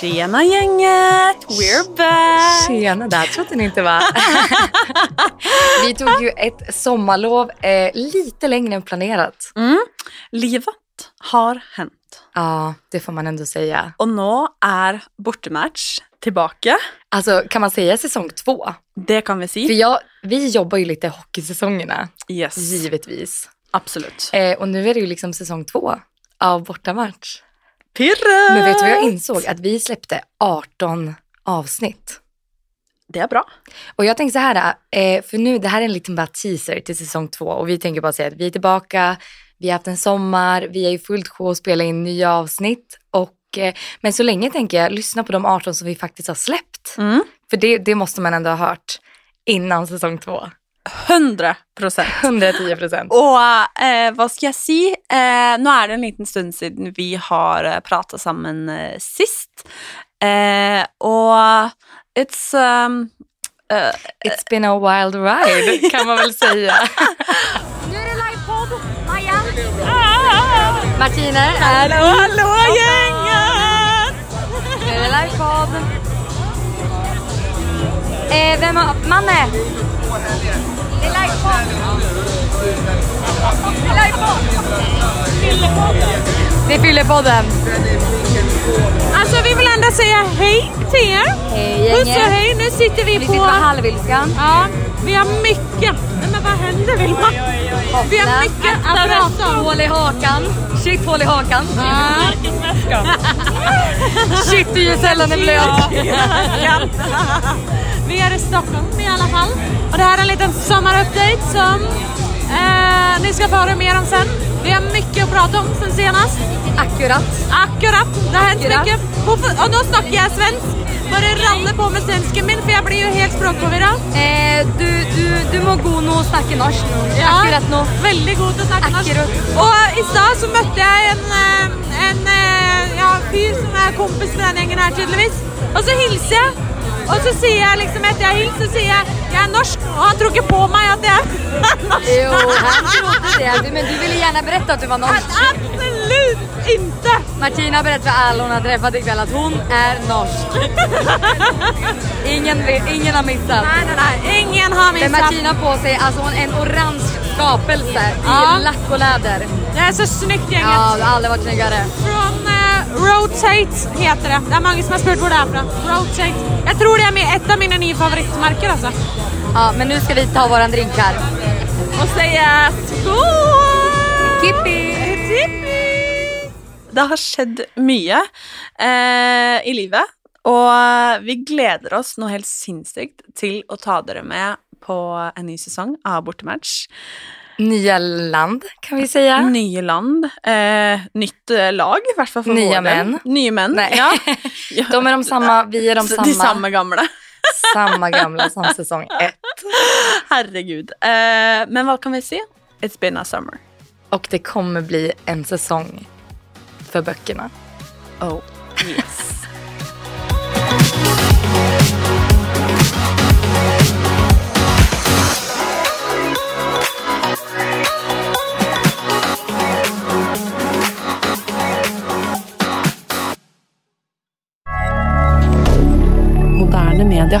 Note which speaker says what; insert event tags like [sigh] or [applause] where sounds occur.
Speaker 1: Tjena gänget! We're back!
Speaker 2: Tjena, där trodde ni
Speaker 1: [laughs]
Speaker 2: inte va? Vi tog ju ett sommarlov eh, lite längre än planerat.
Speaker 1: Mm. Livet har hänt.
Speaker 2: Ja, det får man ändå säga.
Speaker 1: Och nu är bortamatch tillbaka.
Speaker 2: Alltså, kan man säga säsong två?
Speaker 1: Det kan vi
Speaker 2: För
Speaker 1: säga.
Speaker 2: jag, vi jobbar ju lite hockeysäsongerna,
Speaker 1: Mm. Yes,
Speaker 2: givetvis.
Speaker 1: absolut.
Speaker 2: Eh, och nu är det ju liksom säsong två av bortamatch.
Speaker 1: Pirre!
Speaker 2: Men vet du vad jag insåg? Att vi släppte 18 avsnitt.
Speaker 1: Det är bra.
Speaker 2: Och jag tänker så här, eh, för nu, det här är en liten bara teaser till säsong två och vi tänker bara säga att vi är tillbaka, vi har haft en sommar, vi är i fullt sjå att spela in nya avsnitt. Och, eh, men så länge tänker jag, lyssna på de 18 som vi faktiskt har släppt.
Speaker 1: Mm.
Speaker 2: För det, det måste man ändå ha hört innan säsong två.
Speaker 1: 100 procent.
Speaker 2: 110 procent.
Speaker 1: Och eh, vad ska jag säga? Eh, nu är det en liten stund sedan vi har eh, pratat samman eh, sist. Eh, och it's... Um, eh,
Speaker 2: It's been a wild ride kan man väl säga.
Speaker 3: Nu är det livepodd! Maja!
Speaker 2: Martina är
Speaker 1: hallå, hallå gänget!
Speaker 2: Nu är det livepodd. Eh, vem har... Manne!
Speaker 3: Det är livepodd! Det är livepodd!
Speaker 2: Det fyller podden.
Speaker 3: Alltså vi vill ändå säga hej till er!
Speaker 2: Hej
Speaker 3: Puss och hej, nu sitter vi
Speaker 2: Vi
Speaker 3: på...
Speaker 2: sitter på halvilskan.
Speaker 3: Ja, vi har mycket. Nej men vad händer Vilma? Vi har mycket att
Speaker 2: Alltså,
Speaker 3: prata om.
Speaker 2: Hål i hakan. Shit hål i hakan.
Speaker 3: Ja.
Speaker 2: Shit du är ju sällan en blöt.
Speaker 3: Vi är i Stockholm i alla fall. Och det här är en liten sommarupdate som eh, ni ska få höra mer om sen. Vi har mycket att prata om sen senast.
Speaker 2: Akkurat.
Speaker 3: Akkurat, det har hänt
Speaker 2: Akkurat.
Speaker 3: mycket. Hvorfor- Och nu snackar jag svensk. Bara ralle på med svensken min för jag blir ju helt språkförvirrad.
Speaker 2: Eh, du, du, du må gå nu och snacka norsk nu.
Speaker 3: Ja.
Speaker 2: Akkurat nu.
Speaker 3: Väldigt god att snacka norsk.
Speaker 2: Akkurat.
Speaker 3: Och i stad så mötte jag en, eh, en eh, ja, fyr som är kompis med den gängen här tydligtvis. Och så hilser jag. Och så säger jag liksom att jag hilser, så säger jag jag är norsk och han tror inte på mig att jag är [laughs] norsk.
Speaker 2: Jo, han trodde det. Du- Men du ville gärna berätta att du var norsk.
Speaker 3: Absolut inte!
Speaker 2: Martina berättar för alla hon har träffat ikväll att hon är norsk. Ingen, vet- ingen har missat.
Speaker 3: Nej, nej, nej. Ingen har
Speaker 2: Men
Speaker 3: missat.
Speaker 2: Martina har på sig alltså hon är en orange skapelse
Speaker 3: Ja.
Speaker 2: i lack och läder.
Speaker 3: Det är så snyggt gänget.
Speaker 2: Ja, du har aldrig varit snyggare.
Speaker 3: Från eh, Rotate heter det. Det är många som har spurt var det är från. Rotate. Jag tror det är med ett av mina nya favoritmärken alltså.
Speaker 2: Ja, men nu ska vi ta våran drink här.
Speaker 3: Och säga skål!
Speaker 2: Kippi!
Speaker 3: Tippi!
Speaker 1: Det har skjedd mye eh, i livet, og vi gleder oss noe helt sinnssykt til å ta dere med på en ny sesong av Bortematch.
Speaker 2: Nya land kan vi säga.
Speaker 1: Nye land, eh, nytt eh, lag, i hvert fall for
Speaker 2: Nye
Speaker 1: vår del.
Speaker 2: menn.
Speaker 1: Nye menn.
Speaker 2: Nej.
Speaker 1: Ja.
Speaker 2: [laughs] De är de samma, vi är de
Speaker 1: Så [laughs]
Speaker 2: samma.
Speaker 1: De samme gamle. [laughs]
Speaker 2: Samma gamla som säsong ett.
Speaker 1: Herregud. Eh, men hva kan vi si? It's been a summer.
Speaker 2: Och det kommer bli en säsong för böckerna.
Speaker 1: Oh, yes.
Speaker 4: Moderne media.